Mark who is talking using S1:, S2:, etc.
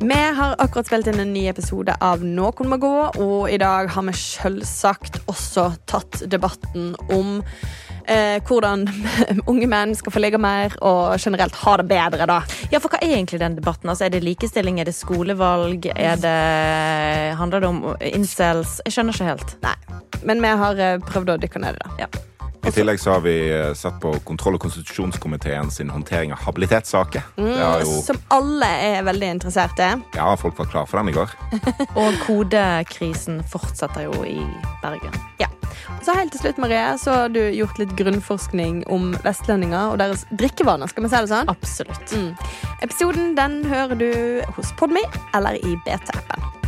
S1: Vi har akkurat spilt inn en ny episode av Noen må gå, og i dag har vi selvsagt også tatt debatten om eh, hvordan unge menn skal få ligge mer og generelt ha det bedre, da.
S2: Ja, for hva er egentlig den debatten? Altså, er det likestilling, er det skolevalg, er det Handler det om incels? Jeg skjønner ikke helt.
S1: Nei. Men vi har eh, prøvd å dykke ned i det.
S2: Ja.
S3: I tillegg så har vi eh, sett på kontroll- og konstitusjonskomiteen sin håndtering av habilitetssaker. Det har jo,
S1: Mm, Som alle er veldig interessert i.
S3: ja, folk var klar for den i går.
S2: Og kodekrisen fortsetter jo i Bergen.
S1: Ja. Så helt til slutt, Marie, så har du gjort litt grunnforskning om vestlendinger og deres drikkevaner. Skal vi si det sånn?
S2: Absolutt.
S1: Episoden den hører du hos Podme eller i BT-appen.